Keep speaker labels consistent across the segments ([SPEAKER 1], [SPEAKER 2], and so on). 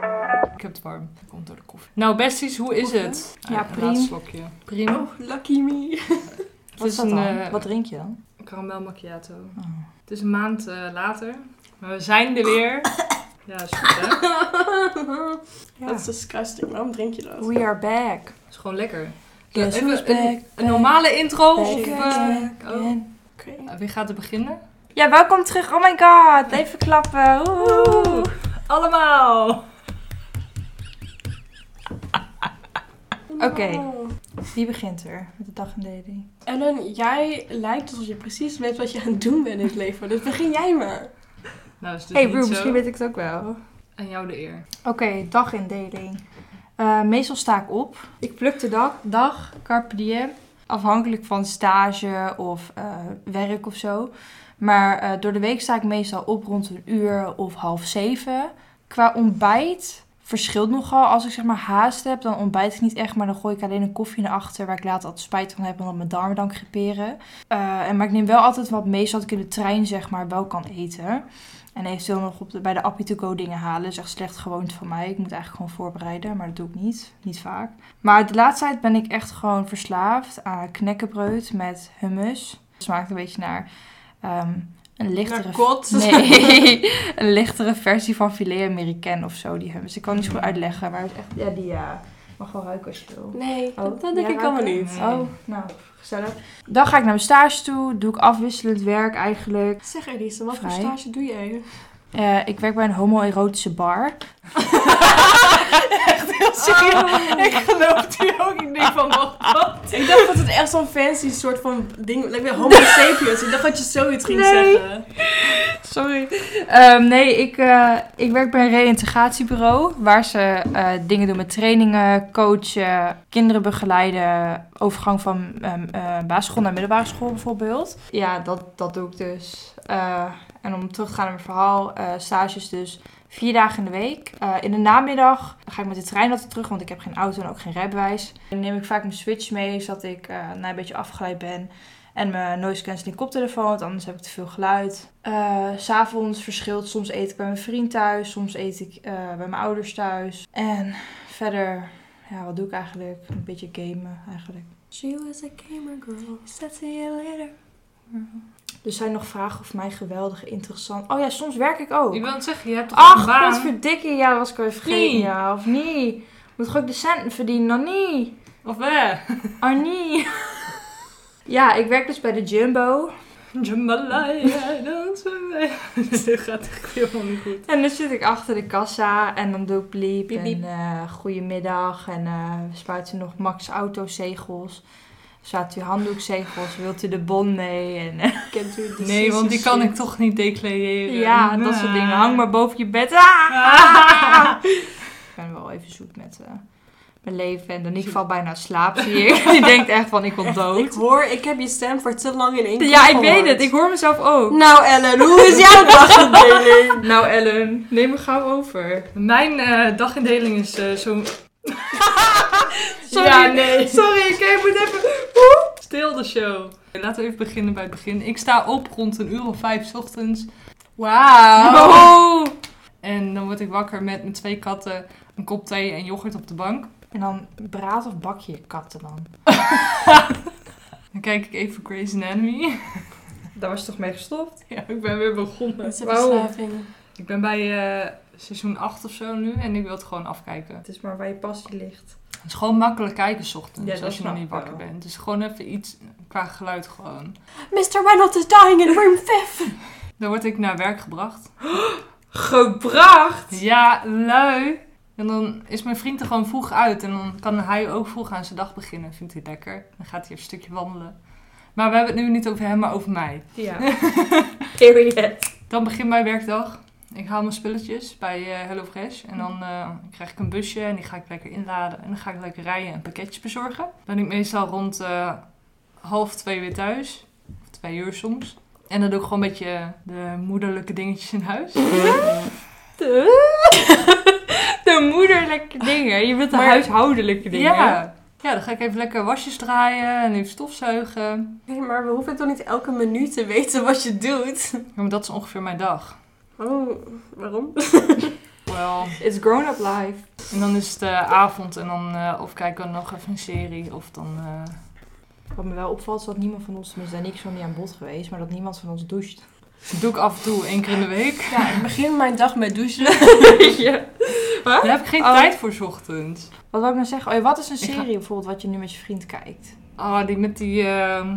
[SPEAKER 1] heb het warm. Komt door de koffie. Nou, besties, hoe is
[SPEAKER 2] Koffie?
[SPEAKER 1] het?
[SPEAKER 2] Ja,
[SPEAKER 1] Ah,
[SPEAKER 2] prima.
[SPEAKER 1] Een laatste slokje. Prima.
[SPEAKER 2] Oh, lucky me.
[SPEAKER 1] het
[SPEAKER 3] Wat is dat dan?
[SPEAKER 1] eh,
[SPEAKER 3] Wat drink je dan?
[SPEAKER 2] Caramel macchiato.
[SPEAKER 3] Oh.
[SPEAKER 1] Het is een maand eh, later. Maar we zijn er weer. Ja, is goed, hè?
[SPEAKER 3] Ja.
[SPEAKER 2] Dat is disgusting. Waarom drink je dat?
[SPEAKER 3] We are back.
[SPEAKER 1] is gewoon lekker.
[SPEAKER 3] Guess
[SPEAKER 1] Even
[SPEAKER 3] who's
[SPEAKER 1] een-
[SPEAKER 3] back,
[SPEAKER 1] een, normale intro?
[SPEAKER 3] back
[SPEAKER 1] of, eh,
[SPEAKER 3] again,
[SPEAKER 1] oh.
[SPEAKER 3] again.
[SPEAKER 2] Oké.
[SPEAKER 1] Eh, Wie gaat er beginnen?
[SPEAKER 3] Ja, welkom terug. Oh my god. Even klappen. Oeh.
[SPEAKER 1] Allemaal!
[SPEAKER 2] Oh,
[SPEAKER 3] Oké. Wie begint er met de dagindeling?
[SPEAKER 2] Ellen, jij lijkt alsof je precies weet wat je aan het doen bent in het leven. Dus begin jij maar.
[SPEAKER 1] Nou, is dus
[SPEAKER 3] hey
[SPEAKER 1] niet
[SPEAKER 3] Roe,
[SPEAKER 1] zo.
[SPEAKER 3] misschien weet ik het ook wel.
[SPEAKER 1] Aan jou de eer.
[SPEAKER 3] Oké, dagindeling. Eh, meestal sta ik op. Ik pluk de dag, dag carpe diem. Afhankelijk van stage of eh, werk of zo. Maar eh, door de week sta ik meestal op rond een uur of half zeven. Qua ontbijt verschilt nogal. Als ik zeg maar haast heb, dan ontbijt ik niet echt. Maar dan gooi ik alleen een koffie naar achter waar ik later altijd spijt van heb. Omdat mijn darmen dan creperen. Eh, en maar ik neem wel altijd wat mee, zodat ik in de trein zeg maar wel kan eten. En eventueel nog op de, bij de Appie to go dingen halen. Dat is echt slecht gewoonte van mij. Ik moet eigenlijk gewoon voorbereiden, maar dat doe ik niet. Niet vaak. Maar de laatste tijd ben ik echt gewoon verslaafd aan knekkenbreud met hummus. Smaakt een beetje naar ehm, een lichtere...
[SPEAKER 2] Naar kot.
[SPEAKER 3] Nee, een lichtere versie van filet americain of zo, die hummus. Ik kan het niet zo goed uitleggen, maar het is echt... Ja, die ja. mag wel ruiken als je wil.
[SPEAKER 2] Nee,
[SPEAKER 3] Oh,
[SPEAKER 2] dat, dat denk
[SPEAKER 3] ja,
[SPEAKER 2] ik allemaal
[SPEAKER 3] raken.
[SPEAKER 2] niet.
[SPEAKER 1] Nee.
[SPEAKER 3] Oh, nou, gezellig. Dan ga ik naar mijn stage toe, doe ik afwisselend werk eigenlijk.
[SPEAKER 2] Zeg Elise, wat voor
[SPEAKER 3] Vrij.
[SPEAKER 2] stage doe jij?
[SPEAKER 3] Eh, ik werk bij een homoerotische bar. Echt heel serieus.
[SPEAKER 2] Oh.
[SPEAKER 3] Ik geloof die ook. Oh, Ik denk van, wacht, wat?
[SPEAKER 2] Ik dacht dat het echt zo'n fancy soort van ding... Like weer homo sapiens. Ik dacht dat je zoiets ging
[SPEAKER 3] Nee.
[SPEAKER 2] zeggen.
[SPEAKER 3] Sorry. Ehm, nee, ik, eh, ik werk bij een reïntegratiebureau. Waar ze eh, dingen doen met trainingen, coachen, kinderen begeleiden. Overgang van ehm, eh, basisschool naar middelbare school bijvoorbeeld. Ja, dat, dat doe ik dus. Eh, en om terug te gaan naar mijn verhaal, eh, stages dus. Vier dagen in de week. Eh, in de namiddag ga ik met de trein altijd terug, want ik heb geen auto en ook geen rijbewijs. Dan neem ik vaak mijn switch mee, zodat ik eh, nou een beetje afgeleid ben. En mijn noise cancelling koptelefoon, want anders heb ik te veel geluid. Eh, S S'avonds verschilt, soms eet ik bij mijn vriend thuis, soms eet ik eh, bij mijn ouders thuis. En verder, ja, wat doe ik eigenlijk? Een beetje gamen eigenlijk.
[SPEAKER 2] She was a gamer girl. Set later.
[SPEAKER 3] Er zijn nog vragen of mij geweldig interessant... Oh ja, soms werk ik
[SPEAKER 1] Ik
[SPEAKER 3] ook.
[SPEAKER 1] wil het zeggen, je hebt toch een
[SPEAKER 3] Ach,
[SPEAKER 1] baan?
[SPEAKER 3] godverdikkie, ja, dat was ik weer vergeten.
[SPEAKER 1] Nee.
[SPEAKER 3] Ja, of niet? Moet ik ook de centen verdienen? Nou, niet.
[SPEAKER 1] Of eh? weg?
[SPEAKER 3] Oh, niet. ja, ik werk dus bij de Jumbo.
[SPEAKER 1] Jambalaya, dans met mij. Dit gaat echt helemaal niet goed.
[SPEAKER 3] En dan zit ik achter de kassa en dan doe ik bliep
[SPEAKER 2] Piep,
[SPEAKER 3] en
[SPEAKER 2] piep.
[SPEAKER 3] eh, goedemiddag en eh, we spuiten nog Max autozegels. Staat u handdoekzegels, wilt u de bon mee? En, eh,
[SPEAKER 2] Kent u de
[SPEAKER 1] Nee, want die
[SPEAKER 2] Caesar
[SPEAKER 1] kan ik
[SPEAKER 2] suit?
[SPEAKER 1] toch niet declareren.
[SPEAKER 3] ja, dat soort dingen. Hang maar boven je bed. Ah! Ik ben wel even zoet met eh, mijn leven. En Danique valt bijna in slaap, zie ik. Die denkt echt van, ik wil
[SPEAKER 2] Ik
[SPEAKER 3] dood.
[SPEAKER 2] hoor, ik heb je stem voor te lang in één keer
[SPEAKER 3] Ja, ik
[SPEAKER 2] gehoord.
[SPEAKER 3] weet het. Ik hoor mezelf ook.
[SPEAKER 2] Nou Ellen, hoe is jouw dagindeling?
[SPEAKER 3] Nou Ellen, neem me gauw over.
[SPEAKER 1] Mijn eh, dagindeling is eh, zo
[SPEAKER 3] Sorry.
[SPEAKER 1] Ja, nee.
[SPEAKER 3] Sorry, oké, ik moet even...
[SPEAKER 1] stil de show. Laten we even beginnen bij het begin. Ik sta op rond een uur of vijf 's ochtends. Wauw.
[SPEAKER 3] Oh.
[SPEAKER 1] En dan word ik wakker met mijn twee katten, een kop thee en yoghurt op de bank.
[SPEAKER 3] En dan braad of bak je je katten dan?
[SPEAKER 1] Dan kijk ik even Grey's Anatomy.
[SPEAKER 3] Daar was toch mee gestopt?
[SPEAKER 1] Ja, ik ben weer begonnen.
[SPEAKER 2] Het is een
[SPEAKER 3] Wauw.
[SPEAKER 2] verslaving.
[SPEAKER 1] Ik ben bij eh, seizoen 8 of zo nu en ik wil het gewoon afkijken.
[SPEAKER 3] Het is maar waar je passie ligt.
[SPEAKER 1] Het is gewoon makkelijk kijken 's ochtends
[SPEAKER 3] Ja, dat
[SPEAKER 1] als je nog
[SPEAKER 3] snap
[SPEAKER 1] niet
[SPEAKER 3] ik
[SPEAKER 1] wakker
[SPEAKER 3] wel.
[SPEAKER 1] bent. Dus gewoon even iets qua geluid gewoon.
[SPEAKER 2] Mr. Reynolds is dying in room 5.
[SPEAKER 1] Dan word ik naar werk gebracht.
[SPEAKER 3] Gebracht!
[SPEAKER 1] Ja, lui. En dan is mijn vriend er gewoon vroeg uit. En dan kan hij ook vroeg aan zijn dag beginnen. Vindt hij lekker. Dan gaat hij even een stukje wandelen. Maar we hebben het nu niet over hem, maar over mij.
[SPEAKER 3] Ja. Period.
[SPEAKER 1] Dan begint mijn werkdag. Ik haal mijn spulletjes bij eh, HelloFresh. En dan eh, krijg ik een busje en die ga ik lekker inladen. En dan ga ik lekker rijden en pakketjes bezorgen. Dan ben ik meestal rond eh, half twee weer thuis. Of twee uur soms. En dan doe ik gewoon een beetje de moederlijke dingetjes in huis.
[SPEAKER 3] De, de moederlijke dingen. Je wilt de
[SPEAKER 1] Maar-
[SPEAKER 3] huishoudelijke dingen.
[SPEAKER 1] Ja. ja, dan ga ik even lekker wasjes draaien en even stofzuigen.
[SPEAKER 2] Nee, maar we hoeven toch niet elke minuut te weten wat je doet?
[SPEAKER 1] Ja, maar dat is ongeveer mijn dag.
[SPEAKER 2] Oh, waarom?
[SPEAKER 1] wel.
[SPEAKER 3] It's grown-up life.
[SPEAKER 1] En dan is het eh, avond en dan eh, of kijken we nog even een serie of dan... eh,
[SPEAKER 3] Wat me wel opvalt is dat niemand van ons, tenminste daar niks van niet aan bod geweest, maar dat niemand van ons doucht.
[SPEAKER 1] doe ik af en toe één keer in de week.
[SPEAKER 2] Ja, ik begin mijn dag met douchen.
[SPEAKER 3] ja.
[SPEAKER 1] Daar heb ik geen
[SPEAKER 3] Oh.
[SPEAKER 1] tijd voor 's ochtends.
[SPEAKER 3] Wat wil ik nou zeggen? Oh, ja, wat is een
[SPEAKER 1] Ik ga-
[SPEAKER 3] serie bijvoorbeeld wat je nu met je vriend kijkt?
[SPEAKER 1] Oh, die met die... ehm,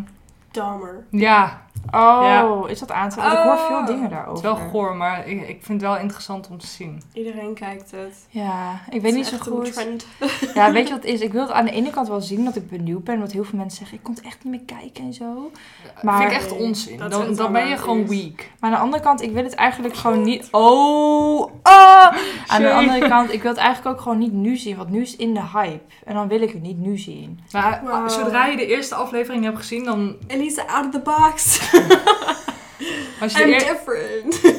[SPEAKER 2] Dahmer.
[SPEAKER 1] ja,
[SPEAKER 3] Oh,
[SPEAKER 1] Ja.
[SPEAKER 3] is dat aan te Want Ik hoor veel
[SPEAKER 2] Oh.
[SPEAKER 3] dingen
[SPEAKER 1] het is
[SPEAKER 3] daarover.
[SPEAKER 1] wel goor, maar ik, ik vind het wel interessant om te zien.
[SPEAKER 2] Iedereen kijkt het.
[SPEAKER 3] Ja, ik weet niet zo
[SPEAKER 2] Het is echt een
[SPEAKER 3] goed.
[SPEAKER 2] trend.
[SPEAKER 3] Ja, weet je wat het is? Ik wil het aan de ene kant wel zien, dat ik benieuwd ben. Want heel veel mensen zeggen, ik kon het echt niet meer kijken en zo. Maar-
[SPEAKER 1] vind ik echt
[SPEAKER 2] Nee,
[SPEAKER 1] onzin.
[SPEAKER 2] dat
[SPEAKER 1] Dan,
[SPEAKER 2] vindt
[SPEAKER 1] dan
[SPEAKER 2] Anna
[SPEAKER 1] ben je gewoon
[SPEAKER 2] eerst.
[SPEAKER 1] weak.
[SPEAKER 3] Maar aan de andere kant, ik wil het eigenlijk gewoon niet... Oh, ah! Aan de
[SPEAKER 1] Shame.
[SPEAKER 3] andere kant, ik wil het eigenlijk ook gewoon niet nu zien. Want nu is het in de hype. En dan wil ik het niet nu zien.
[SPEAKER 1] Maar
[SPEAKER 2] Wauw.
[SPEAKER 1] zodra je de eerste aflevering hebt gezien, dan...
[SPEAKER 2] Elisa out of the box.
[SPEAKER 1] Als je, de
[SPEAKER 2] I'm
[SPEAKER 1] eer-
[SPEAKER 2] different.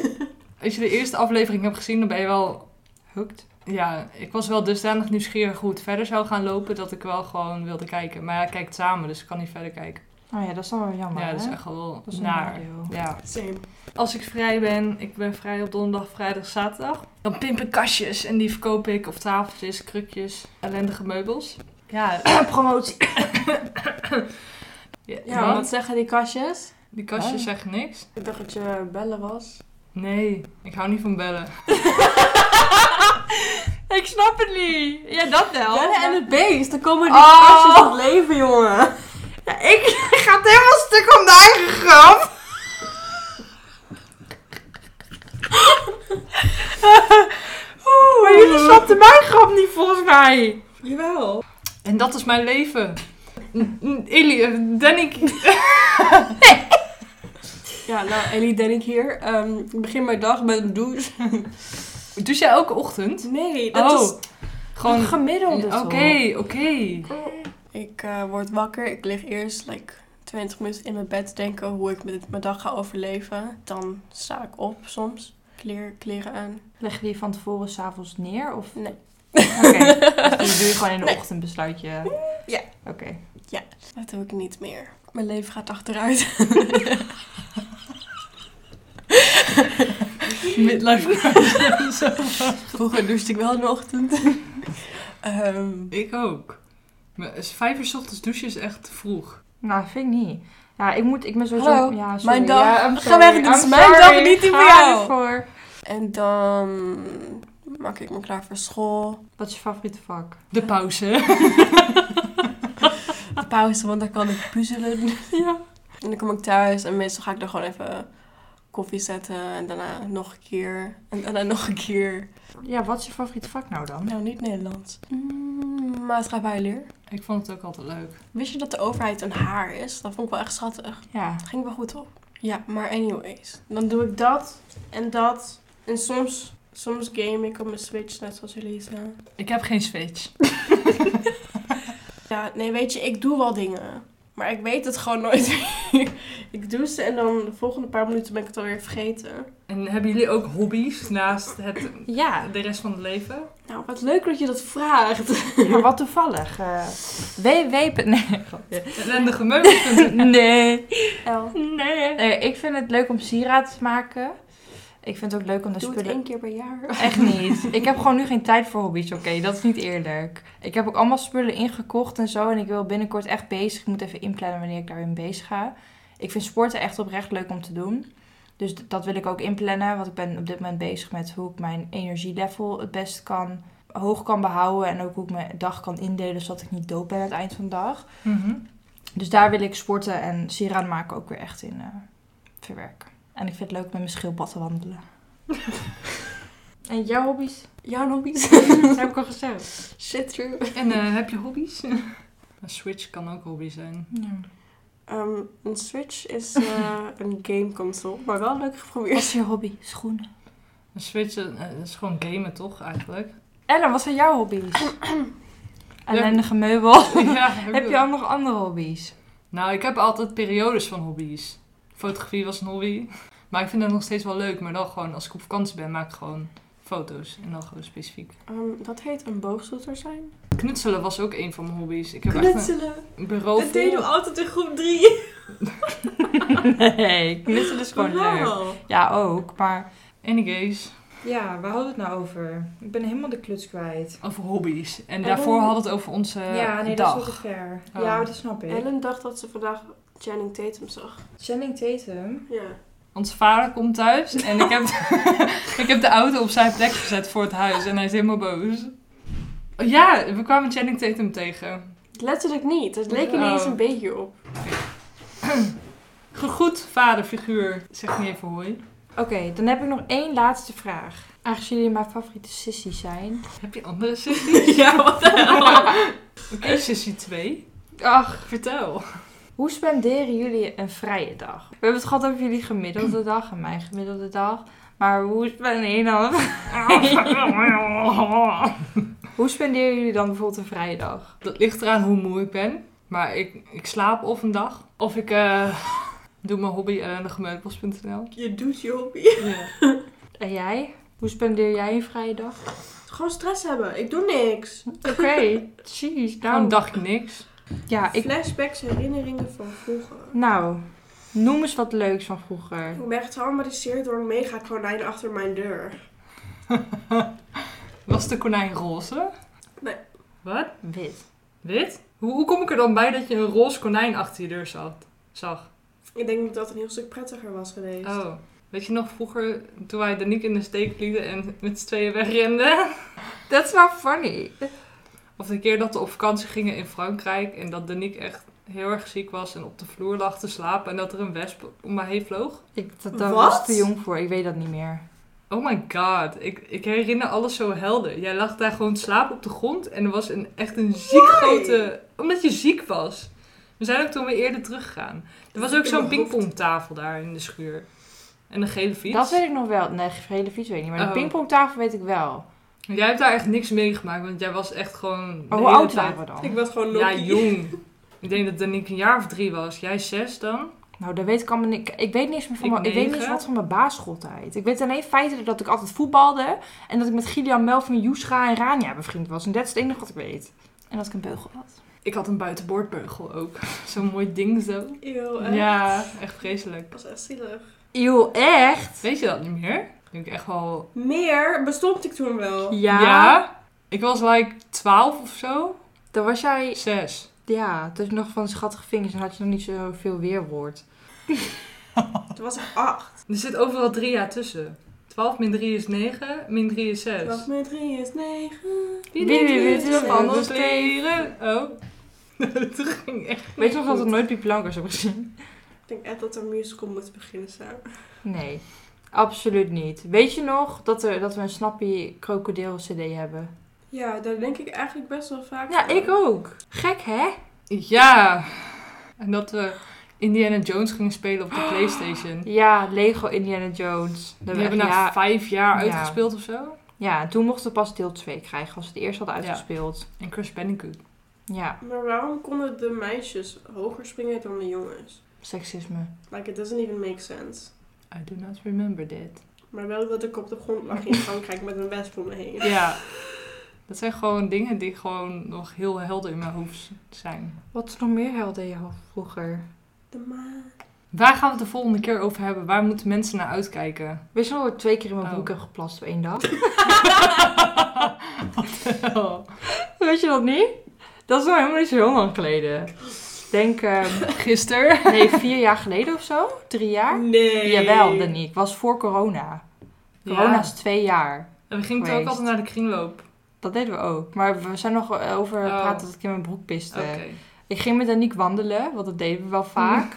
[SPEAKER 1] als je de eerste aflevering hebt gezien, dan ben je wel... Hooked? Ja, ik was wel dusdanig nieuwsgierig hoe het verder zou gaan lopen... dat ik wel gewoon wilde kijken. Maar ja, ik kijk het samen, dus ik kan niet verder kijken.
[SPEAKER 3] Oh ja, dat is dan wel jammer,
[SPEAKER 1] ja, dat is
[SPEAKER 3] hè?
[SPEAKER 1] echt wel
[SPEAKER 3] Dat is een
[SPEAKER 1] naar.
[SPEAKER 3] nadeel.
[SPEAKER 1] Ja.
[SPEAKER 2] Same.
[SPEAKER 1] Als ik vrij ben, ik ben vrij op donderdag, vrijdag, zaterdag... dan pimp ik kastjes en die verkoop ik op tafeltjes, krukjes, ellendige meubels. Ja,
[SPEAKER 3] Promotie.
[SPEAKER 1] ja,
[SPEAKER 2] Ja,
[SPEAKER 1] want
[SPEAKER 2] wat zeggen die kastjes?
[SPEAKER 1] die kastjes
[SPEAKER 3] Oh.
[SPEAKER 1] zeggen niks.
[SPEAKER 2] Ik dacht dat je bellen was.
[SPEAKER 1] Nee, ik hou niet van bellen.
[SPEAKER 3] ik snap het niet. Ja, dat wel.
[SPEAKER 2] Bellen en het beest, dan komen die
[SPEAKER 3] Oh.
[SPEAKER 2] kastjes tot leven, jongen.
[SPEAKER 3] Ja, ik ga het helemaal stuk om de eigen grap. Oeh, maar jullie snapten mijn grap niet volgens mij.
[SPEAKER 2] Jawel.
[SPEAKER 1] En dat is mijn leven. N- n- Illy, eh, Danny,
[SPEAKER 2] Ja, nou, Ellie, denk ik hier. Ehm, ik begin mijn dag met een douche. Oh.
[SPEAKER 1] doe jij elke ochtend?
[SPEAKER 2] Nee,
[SPEAKER 1] dat
[SPEAKER 2] dat
[SPEAKER 1] is
[SPEAKER 2] is
[SPEAKER 1] Gewoon,
[SPEAKER 3] gemiddelde
[SPEAKER 1] oké,
[SPEAKER 3] toch?
[SPEAKER 1] oké.
[SPEAKER 2] Ik eh, word wakker. Ik lig eerst like, 20 minuten in mijn bed te denken hoe ik met mijn dag ga overleven. Dan sta ik op soms. Kleren, kleren aan.
[SPEAKER 3] Leg je die van tevoren s'avonds neer? Of...
[SPEAKER 2] Nee.
[SPEAKER 3] Oké, dus die doe je gewoon in de
[SPEAKER 2] Nee.
[SPEAKER 3] ochtend besluit je.
[SPEAKER 2] Ja.
[SPEAKER 3] Oké.
[SPEAKER 2] Dat doe ik niet meer. Mijn leven gaat achteruit.
[SPEAKER 1] Midlife
[SPEAKER 2] Vroeger douchte ik wel in de ochtend. Ehm,
[SPEAKER 1] Ik ook. Maar is Vijf uur 's ochtends douchen is echt vroeg.
[SPEAKER 3] Nou, vind ik niet. Ja, ik moet, ik ben sowieso...
[SPEAKER 2] Hallo,
[SPEAKER 3] ja, sorry.
[SPEAKER 2] mijn dag.
[SPEAKER 3] Ja, I'm
[SPEAKER 2] Ga
[SPEAKER 3] sorry.
[SPEAKER 2] weg, dit
[SPEAKER 3] I'm
[SPEAKER 2] is mijn
[SPEAKER 3] sorry.
[SPEAKER 2] dag, niet die
[SPEAKER 3] Ga
[SPEAKER 2] van jou.
[SPEAKER 3] ervoor.
[SPEAKER 2] en dan maak ik me klaar voor school.
[SPEAKER 3] Wat is je favoriete vak?
[SPEAKER 1] De pauze.
[SPEAKER 3] Ah.
[SPEAKER 2] Pauze, want dan kan ik puzzelen. En dan kom ik thuis en meestal ga ik er gewoon even koffie zetten. En daarna nog een keer. En daarna nog een keer.
[SPEAKER 3] Ja, wat is je favoriete vak nou dan?
[SPEAKER 2] Nou, niet Nederlands. Mm, maatschappijleer.
[SPEAKER 1] Ik vond het ook altijd leuk.
[SPEAKER 2] Wist je dat de overheid een haar is? Dat vond ik wel echt schattig.
[SPEAKER 3] Ja.
[SPEAKER 2] Dat ging wel goed op. Ja, maar anyways. Dan doe ik dat en dat. En soms, soms game ik op mijn Switch, net zoals Elisa.
[SPEAKER 1] Ik heb geen switch.
[SPEAKER 2] Ja, nee, weet je, ik doe wel dingen. Maar ik weet het gewoon nooit meer. ik doe ze en dan de volgende paar minuten ben ik het alweer vergeten.
[SPEAKER 1] En hebben jullie ook hobby's naast het,
[SPEAKER 3] Ja,
[SPEAKER 1] de rest van het leven?
[SPEAKER 2] Nou, wat leuk dat je dat vraagt.
[SPEAKER 3] maar wat toevallig. eh www. Nee, grapje.
[SPEAKER 1] Ellendige meubels.
[SPEAKER 3] nee.
[SPEAKER 2] El,
[SPEAKER 1] Nee.
[SPEAKER 3] Nee, Ik vind het leuk om sieraad te maken. Ik vind het ook leuk om de
[SPEAKER 2] doe het
[SPEAKER 3] spullen...
[SPEAKER 2] één keer per jaar.
[SPEAKER 3] Echt niet. Ik heb gewoon nu geen tijd voor hobby's, oké? Dat is niet eerlijk. Ik heb ook allemaal spullen ingekocht en zo. En ik wil binnenkort echt bezig. Ik moet even inplannen wanneer ik daarin bezig ga. Ik vind sporten echt oprecht leuk om te doen. Dus d- dat wil ik ook inplannen. Want ik ben op dit moment bezig met hoe ik mijn energielevel het best kan... hoog kan behouden. En ook hoe ik mijn dag kan indelen, zodat ik niet dood ben aan het eind van de dag.
[SPEAKER 1] Mhm.
[SPEAKER 3] Dus daar wil ik sporten en sieraden maken ook weer echt in eh, verwerken. En ik vind het leuk met mijn schildpad te wandelen. en jouw hobby's?
[SPEAKER 2] Jouw hobby's?
[SPEAKER 3] heb ik al gezegd.
[SPEAKER 2] Shit, true.
[SPEAKER 1] En eh, heb je hobby's? Een switch kan ook hobby zijn.
[SPEAKER 2] Ehm, een Switch is eh, een gameconsole, maar wel leuk
[SPEAKER 3] Wat
[SPEAKER 2] geprobeerd.
[SPEAKER 3] is je hobby? Schoenen.
[SPEAKER 1] Een switch eh, is gewoon gamen toch eigenlijk?
[SPEAKER 3] Ellen, wat zijn jouw hobby's? Ellendige meubel.
[SPEAKER 1] ja,
[SPEAKER 3] heb je ook nog andere hobby's?
[SPEAKER 1] Nou, ik heb altijd periodes van hobby's. Fotografie was een hobby. Maar ik vind dat nog steeds wel leuk. Maar dan gewoon, als ik op vakantie ben, maak ik gewoon foto's. En dan gewoon specifiek.
[SPEAKER 2] Ehm, dat heet een boogzoeter zijn.
[SPEAKER 1] Knutselen was ook een van mijn hobby's. Ik heb echt
[SPEAKER 2] Knutselen.
[SPEAKER 1] een bureau vol.
[SPEAKER 2] altijd in groep 3.
[SPEAKER 3] nee, knutselen is gewoon leuk. Ja, ook, maar...
[SPEAKER 1] Any gays.
[SPEAKER 3] Ja, waar hadden we het nou over? Ik ben helemaal de kluts kwijt.
[SPEAKER 1] Over hobby's. En
[SPEAKER 3] En
[SPEAKER 1] daarvoor
[SPEAKER 3] dan-
[SPEAKER 1] hadden we het over onze eh,
[SPEAKER 3] ja, nee,
[SPEAKER 1] dag.
[SPEAKER 3] dat is wel te ver.
[SPEAKER 1] Oh.
[SPEAKER 3] Ja, dat snap ik.
[SPEAKER 2] Ellen dacht dat ze vandaag Channing Tatum zag.
[SPEAKER 3] Channing Tatum.
[SPEAKER 2] Ja.
[SPEAKER 1] Ons vader komt thuis en ik heb, ik heb de auto op zijn plek gezet voor het huis. En hij is helemaal boos. Oh ja, we kwamen Channing Tatum tegen.
[SPEAKER 2] Letterlijk niet. Het leek er niet
[SPEAKER 1] Oh.
[SPEAKER 2] eens een beetje op.
[SPEAKER 1] Gegroet vaderfiguur. Zeg niet even hoi.
[SPEAKER 3] Oké, dan heb ik nog één laatste vraag. Aangezien jullie mijn favoriete sissies zijn.
[SPEAKER 1] Heb je andere sissy?
[SPEAKER 2] ja, wat
[SPEAKER 1] Oké, sissy 2.
[SPEAKER 3] Ach,
[SPEAKER 1] Vertel.
[SPEAKER 3] hoe spenderen jullie een vrije dag? We hebben het gehad over jullie gemiddelde dag en mijn gemiddelde dag. Maar hoe spendeer je dan? hoe spenderen jullie dan bijvoorbeeld een vrije dag?
[SPEAKER 1] Dat ligt eraan hoe moe ik ben. Maar ik, ik slaap of een dag. Of ik eh, doe mijn hobby eh, ellendigemeubels.nl.
[SPEAKER 2] Je doet je hobby.
[SPEAKER 1] Ja.
[SPEAKER 3] En jij? Hoe spendeer jij een vrije dag?
[SPEAKER 2] Gewoon stress hebben. Ik doe niks.
[SPEAKER 3] Oké, jeez.
[SPEAKER 1] Gewoon
[SPEAKER 3] Nou,
[SPEAKER 1] een dagje niks.
[SPEAKER 3] ja, ik,
[SPEAKER 2] Flashbacks, herinneringen van vroeger.
[SPEAKER 3] nou, noem eens wat leuks van vroeger.
[SPEAKER 2] Ik ben getraumatiseerd door een mega konijn achter mijn deur.
[SPEAKER 1] Was de konijn roze?
[SPEAKER 2] Nee.
[SPEAKER 1] Wat?
[SPEAKER 3] Wit.
[SPEAKER 1] Wit? Hoe, hoe kom ik er dan bij dat je een roze konijn achter je deur zat, zag?
[SPEAKER 2] Ik denk dat dat een heel stuk prettiger was geweest.
[SPEAKER 1] Oh. Weet je nog vroeger toen wij Danique in de steek lieten en met z'n tweeën wegrenden?
[SPEAKER 3] That's not nou funny.
[SPEAKER 1] Of de keer dat we op vakantie gingen in Frankrijk en dat Danique echt heel erg ziek was en op de vloer lag te slapen en dat er een wesp om mij heen vloog?
[SPEAKER 3] Ik, dat, daar
[SPEAKER 2] Wat?
[SPEAKER 3] was te jong voor, ik weet dat niet meer.
[SPEAKER 1] Oh my god, ik, ik herinner alles zo helder. Jij lag daar gewoon te slapen op de grond en er was een, echt een ziek grote... Omdat je ziek was. We zijn ook toen weer eerder teruggegaan. Er was ook
[SPEAKER 2] In
[SPEAKER 1] zo'n
[SPEAKER 2] mijn hoofd.
[SPEAKER 1] pingpongtafel daar in de schuur. En een gele fiets.
[SPEAKER 3] Dat weet ik nog wel. Nee, gele fiets weet ik niet, maar
[SPEAKER 1] Oh.
[SPEAKER 3] de pingpongtafel weet ik wel.
[SPEAKER 1] Want Jij hebt daar echt niks meegemaakt, want jij was echt gewoon... de
[SPEAKER 3] Maar hoe
[SPEAKER 1] hele
[SPEAKER 3] oud
[SPEAKER 1] tijd-
[SPEAKER 3] waren we dan?
[SPEAKER 2] Ik was gewoon
[SPEAKER 1] Ja,
[SPEAKER 2] Loki.
[SPEAKER 1] jong. ik denk dat Danique een jaar of drie was. Jij zes dan?
[SPEAKER 3] Nou, daar weet ik allemaal niet. Ik weet niks meer van
[SPEAKER 1] Ik
[SPEAKER 3] mijn, ik weet
[SPEAKER 1] negen.
[SPEAKER 3] niks wat van mijn basisschooltijd. Ik weet alleen feitelijk dat ik altijd voetbalde en dat ik met Gillian Melvin, Joescha en Rania bevriend was. En dat is het enige wat ik weet. En dat ik een beugel had.
[SPEAKER 1] Ik had een buitenboordbeugel ook. Zo'n mooi ding zo.
[SPEAKER 2] Eeuw, echt.
[SPEAKER 1] Ja, Oh, echt vreselijk.
[SPEAKER 2] Dat was echt zielig.
[SPEAKER 3] Eeuw, echt?
[SPEAKER 1] Weet je dat niet meer? Ik denk echt wel
[SPEAKER 2] Meer bestond ik toen wel.
[SPEAKER 3] Ja.
[SPEAKER 1] Ik was like 12 of zo.
[SPEAKER 3] Dan was jij,
[SPEAKER 1] 6.
[SPEAKER 3] ja, toen je nog van schattige vingers en had je nog niet zoveel weerwoord.
[SPEAKER 2] Toen was ik acht.
[SPEAKER 1] Er zit overal 3 jaar tussen. 12 min 3 is 9, min 3 is 6.
[SPEAKER 2] 12 met 3 is 9.
[SPEAKER 1] Wie
[SPEAKER 3] Wie
[SPEAKER 1] niet
[SPEAKER 3] weet
[SPEAKER 1] weet
[SPEAKER 2] het
[SPEAKER 1] van
[SPEAKER 3] wel.
[SPEAKER 1] ons leren. Oh. Dat ging echt.
[SPEAKER 3] Weet je nog dat ik nooit Piep Lankers heb gezien?
[SPEAKER 2] Ik denk echt dat we een musical moeten beginnen samen.
[SPEAKER 3] Nee, absoluut niet. Weet je nog dat, er, dat we een Snappy Krokodil CD hebben?
[SPEAKER 2] Ja, daar denk ik eigenlijk best wel vaak
[SPEAKER 3] Ja,
[SPEAKER 2] aan.
[SPEAKER 3] ik ook. Gek, hè?
[SPEAKER 1] Ja. En dat we Indiana Jones gingen spelen op de PlayStation.
[SPEAKER 3] Ja, Lego Indiana Jones.
[SPEAKER 1] Die
[SPEAKER 3] Dat we
[SPEAKER 1] hebben nou
[SPEAKER 3] echt-
[SPEAKER 1] na
[SPEAKER 3] ja,
[SPEAKER 1] 5 jaar
[SPEAKER 3] Ja.
[SPEAKER 1] uitgespeeld of zo.
[SPEAKER 3] ja, en toen mochten we pas deel 2 krijgen als we het eerst hadden
[SPEAKER 1] Ja.
[SPEAKER 3] uitgespeeld.
[SPEAKER 1] En Crash Bandicoot.
[SPEAKER 3] Ja,
[SPEAKER 2] Maar waarom konden de meisjes hoger springen dan de jongens?
[SPEAKER 3] seksisme.
[SPEAKER 2] Like, it doesn't even make sense.
[SPEAKER 1] I do not remember that.
[SPEAKER 2] Maar wel dat ik op de grond lag in Frankrijk met mijn wesp om me heen.
[SPEAKER 1] Ja. Dat zijn gewoon dingen die gewoon nog heel helder in mijn hoofd zijn.
[SPEAKER 3] Wat is nog meer helden je had vroeger?
[SPEAKER 2] De maan.
[SPEAKER 1] Waar gaan we het de volgende keer over hebben? Waar moeten mensen naar uitkijken?
[SPEAKER 3] Weet je nog dat ik twee keer in mijn
[SPEAKER 1] Oh.
[SPEAKER 3] broek heb geplast op één dag?
[SPEAKER 1] Oh,
[SPEAKER 3] Weet je dat niet? Dat is nou helemaal niet zo heel lang geleden. Ik Denk, ehm,
[SPEAKER 1] Gisteren.
[SPEAKER 3] nee, vier jaar geleden of zo? Drie jaar?
[SPEAKER 2] Nee.
[SPEAKER 3] Jawel, Danique. Ik was voor corona. Corona
[SPEAKER 1] Ja.
[SPEAKER 3] is twee jaar.
[SPEAKER 1] En we gingen toen ook
[SPEAKER 3] Geweest.
[SPEAKER 1] altijd naar de kringloop.
[SPEAKER 3] Dat deden we ook. Maar we zijn nog over
[SPEAKER 1] Oh.
[SPEAKER 3] praten dat ik in mijn broek piste.
[SPEAKER 1] Oké.
[SPEAKER 3] Ik ging met Aniek wandelen, want dat deden we
[SPEAKER 1] Mm.
[SPEAKER 3] wel vaak. En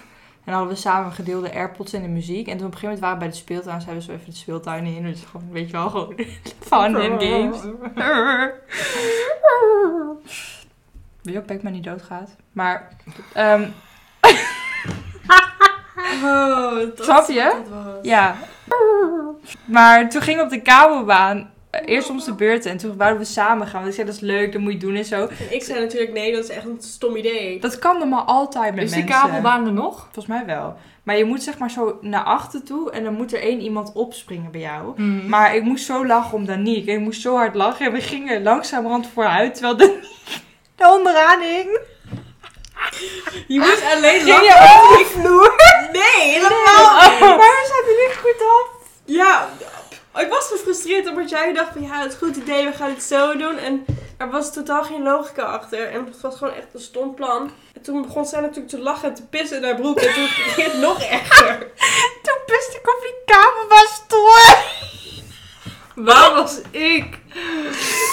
[SPEAKER 3] dan hadden we samen gedeelde AirPods en de muziek. En toen op een gegeven moment waren we bij de speeltuin. Zeiden we zo even de speeltuin in. Dus gewoon, weet je wel, gewoon fun en games. Wil je ook dat ik maar niet doodgaat? Maar, ehm,
[SPEAKER 2] Oh, dat
[SPEAKER 3] Snap je?
[SPEAKER 2] dat was.
[SPEAKER 3] ja. Maar toen gingen we op de kabelbaan. eh, Eerst om de beurten. En toen wouden we samen gaan. Want ik zei, dat is leuk, dat moet je doen en zo.
[SPEAKER 2] En ik zei natuurlijk nee, dat is echt een stom idee.
[SPEAKER 3] Dat kan normaal altijd met
[SPEAKER 1] Is die
[SPEAKER 3] mensen.
[SPEAKER 1] kabelbaan er nog?
[SPEAKER 3] Volgens mij wel. Maar je moet zeg maar zo naar achter toe en dan moet er één iemand opspringen bij jou.
[SPEAKER 1] Maar
[SPEAKER 3] Maar ik moest zo lachen om Danique. Ik moest zo hard lachen en we gingen langzamerhand vooruit. Terwijl Danique de onderaan hing.
[SPEAKER 2] Je moet alleen
[SPEAKER 3] Ah. Ging
[SPEAKER 2] lachen.
[SPEAKER 3] je Oh. over die vloer?
[SPEAKER 2] Nee,
[SPEAKER 3] Oh,
[SPEAKER 2] helemaal niet.
[SPEAKER 3] maar we zaten niet goed af.
[SPEAKER 2] Ja, ik was gefrustreerd jij dacht van ja, het is een goed idee, we gaan het zo doen. En er was totaal geen logica achter. En het was gewoon echt een stom plan. En toen begon zij natuurlijk te lachen en te pissen in haar broek. En toen ging het nog erger.
[SPEAKER 3] Toen piste ik op die kamer was door.
[SPEAKER 1] Waar was ik?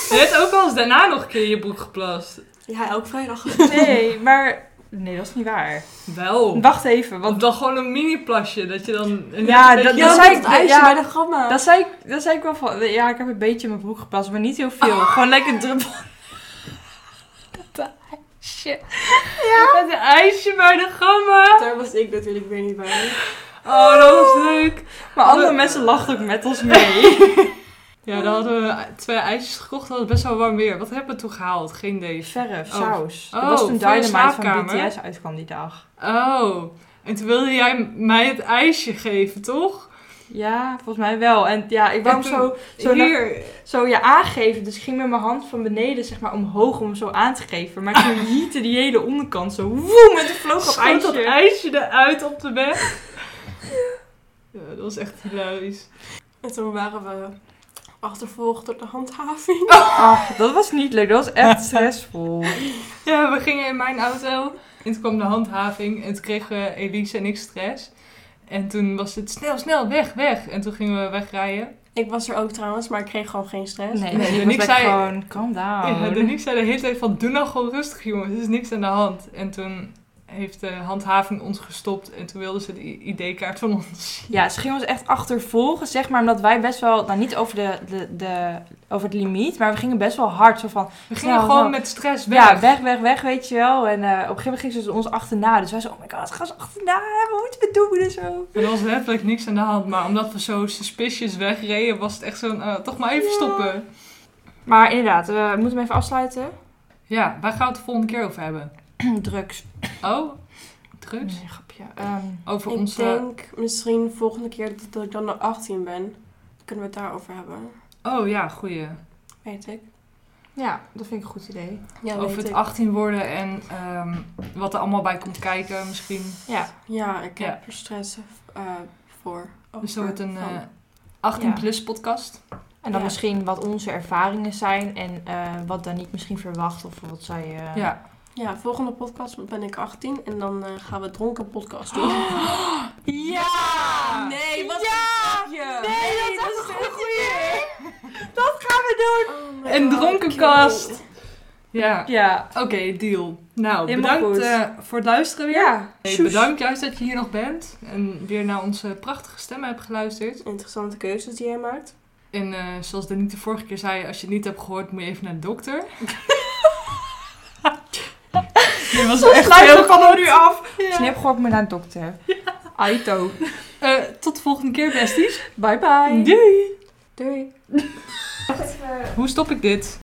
[SPEAKER 1] Je hebt ook al eens daarna nog een keer in je broek geplast.
[SPEAKER 2] Ja, elke vrijdag.
[SPEAKER 3] Nee, maar... Nee, dat is niet waar.
[SPEAKER 1] Wel.
[SPEAKER 3] Wacht even, want
[SPEAKER 1] Of dan gewoon een mini plasje, dat je dan... een-
[SPEAKER 3] Ja,
[SPEAKER 1] een-
[SPEAKER 3] dat-
[SPEAKER 2] Ja,
[SPEAKER 3] dat
[SPEAKER 2] zij
[SPEAKER 3] zei
[SPEAKER 2] het
[SPEAKER 3] ik-
[SPEAKER 2] ijsje
[SPEAKER 3] ja,
[SPEAKER 2] bij de gamma.
[SPEAKER 3] Dat zei, ik, dat zei ik wel van, ja, ik heb een beetje in mijn broek gepast, maar niet heel veel. Gewoon lekker druppel. Dat ijsje. Ja.
[SPEAKER 1] Het ijsje bij de gamma.
[SPEAKER 2] Daar was ik natuurlijk weer niet bij.
[SPEAKER 1] Oh, dat was leuk.
[SPEAKER 3] Maar andere mensen lachten ook met ons mee.
[SPEAKER 1] Ja, dan hadden we twee ijsjes gekocht. Dat was best wel warm weer. Wat hebben we toen gehaald? Geen idee.
[SPEAKER 3] Verf,
[SPEAKER 1] Oh.
[SPEAKER 3] saus.
[SPEAKER 1] Oh,
[SPEAKER 3] dat was toen
[SPEAKER 1] voor je
[SPEAKER 3] Dynamite van
[SPEAKER 1] slaapkamer?
[SPEAKER 3] BTS uitkwam die dag.
[SPEAKER 1] Oh. En toen wilde jij mij het ijsje geven, toch?
[SPEAKER 3] Ja, volgens mij wel. En ja, ik wou
[SPEAKER 1] En
[SPEAKER 3] hem
[SPEAKER 1] toen-
[SPEAKER 3] zo, zo, naar-
[SPEAKER 1] Hier.
[SPEAKER 3] zo je aangeven. Dus ik ging met mijn hand van beneden zeg maar omhoog om hem zo aan te geven. Maar toen hiette die hele onderkant zo woe met de vloog op
[SPEAKER 1] Schoot dat
[SPEAKER 3] ijsje.
[SPEAKER 1] ijsje eruit op de weg. Ja, dat was echt hilarisch.
[SPEAKER 2] En toen waren we achtervolgd door de handhaving.
[SPEAKER 3] Ach, dat was niet leuk. Dat was echt stressvol.
[SPEAKER 1] Ja, we gingen in mijn auto. En toen kwam de handhaving. En toen kregen Elise en ik stress. En toen was het snel, snel, weg, weg. En toen gingen we wegrijden.
[SPEAKER 2] Ik was er ook trouwens, maar ik kreeg gewoon geen stress.
[SPEAKER 3] Nee,
[SPEAKER 1] Nee,
[SPEAKER 3] nee,
[SPEAKER 1] Danique
[SPEAKER 3] ik was
[SPEAKER 1] zei-
[SPEAKER 3] zei... gewoon, calm down.
[SPEAKER 1] Ja, Danique zei de hele tijd van, doe nou gewoon rustig jongens, er is niks aan de hand. En toen heeft de handhaving ons gestopt en toen wilden ze de i- ID-kaart van ons zien.
[SPEAKER 3] Ja, ze gingen ons echt achtervolgen, zeg maar, omdat wij best wel, nou niet over, de, de, de, over het limiet, maar we gingen best wel hard. Zo van,
[SPEAKER 1] We gingen
[SPEAKER 3] Nou,
[SPEAKER 1] gewoon
[SPEAKER 3] nou.
[SPEAKER 1] met stress weg.
[SPEAKER 3] ja, weg, weg, weg, weet je wel. En eh, op een gegeven moment gingen ze ons achterna. Dus wij zo, oh my god, gaan ze achterna, wat moeten we doen en zo.
[SPEAKER 1] Er was letterlijk niks aan de hand, maar omdat we zo suspicious wegreden, was het echt zo'n, eh, toch maar even
[SPEAKER 3] Ja.
[SPEAKER 1] stoppen.
[SPEAKER 3] Maar inderdaad, we moeten hem even afsluiten.
[SPEAKER 1] Ja, waar gaan we het de volgende keer over hebben?
[SPEAKER 3] Drugs.
[SPEAKER 1] Oh, drugs?
[SPEAKER 3] Nee, grapje. Ehm,
[SPEAKER 1] Over
[SPEAKER 2] ik
[SPEAKER 1] onze...
[SPEAKER 2] denk misschien volgende keer dat, dat ik dan nog 18 ben. Kunnen we het daarover hebben?
[SPEAKER 1] Oh ja, goeie.
[SPEAKER 2] Weet ik.
[SPEAKER 3] ja, dat vind ik een goed idee.
[SPEAKER 2] Ja,
[SPEAKER 1] Over
[SPEAKER 2] weet
[SPEAKER 1] het
[SPEAKER 2] ik.
[SPEAKER 1] 18 worden en ehm, wat er allemaal bij komt kijken misschien.
[SPEAKER 3] Ja,
[SPEAKER 2] Ja, ik
[SPEAKER 1] Ja.
[SPEAKER 2] heb er stress eh, voor.
[SPEAKER 1] Dus dat wordt een
[SPEAKER 2] Van-
[SPEAKER 1] 18-plus podcast.
[SPEAKER 3] en dan
[SPEAKER 2] Ja.
[SPEAKER 3] misschien wat onze ervaringen zijn en eh, wat dan niet misschien verwacht of wat zij... eh,
[SPEAKER 1] Ja.
[SPEAKER 2] Ja, volgende podcast ben ik 18 en dan eh, gaan we dronken podcast doen. Oh
[SPEAKER 3] Ja!
[SPEAKER 2] Nee, wat
[SPEAKER 3] ja!
[SPEAKER 2] een grapje!
[SPEAKER 3] Nee, dat
[SPEAKER 2] Nee,
[SPEAKER 3] was
[SPEAKER 2] dat
[SPEAKER 3] een
[SPEAKER 2] is
[SPEAKER 3] goed idee! Dat gaan we doen!
[SPEAKER 2] Oh my
[SPEAKER 1] Een
[SPEAKER 2] god,
[SPEAKER 1] dronkenkast.
[SPEAKER 2] cute.
[SPEAKER 1] Ja,
[SPEAKER 3] Ja.
[SPEAKER 1] oké, deal. Nou,
[SPEAKER 3] Helemaal
[SPEAKER 1] bedankt
[SPEAKER 3] goed.
[SPEAKER 1] eh, voor het luisteren weer.
[SPEAKER 3] Ja.
[SPEAKER 1] Hey,
[SPEAKER 3] Soes.
[SPEAKER 1] bedankt juist dat je hier nog bent en weer naar onze prachtige stemmen hebt geluisterd.
[SPEAKER 2] Interessante keuzes die jij maakt.
[SPEAKER 1] En eh, zoals Danique de vorige keer zei, als je het niet hebt gehoord, moet je even naar de dokter. Dit was
[SPEAKER 3] Soms sluit ik
[SPEAKER 1] goed.
[SPEAKER 3] van nu af.
[SPEAKER 1] Ja.
[SPEAKER 3] Snip gewoon maar naar de dokter. Aito.
[SPEAKER 1] Eh, tot de volgende keer, besties.
[SPEAKER 3] Bye bye.
[SPEAKER 1] Doei!
[SPEAKER 2] Doei!
[SPEAKER 1] Hoe stop ik dit?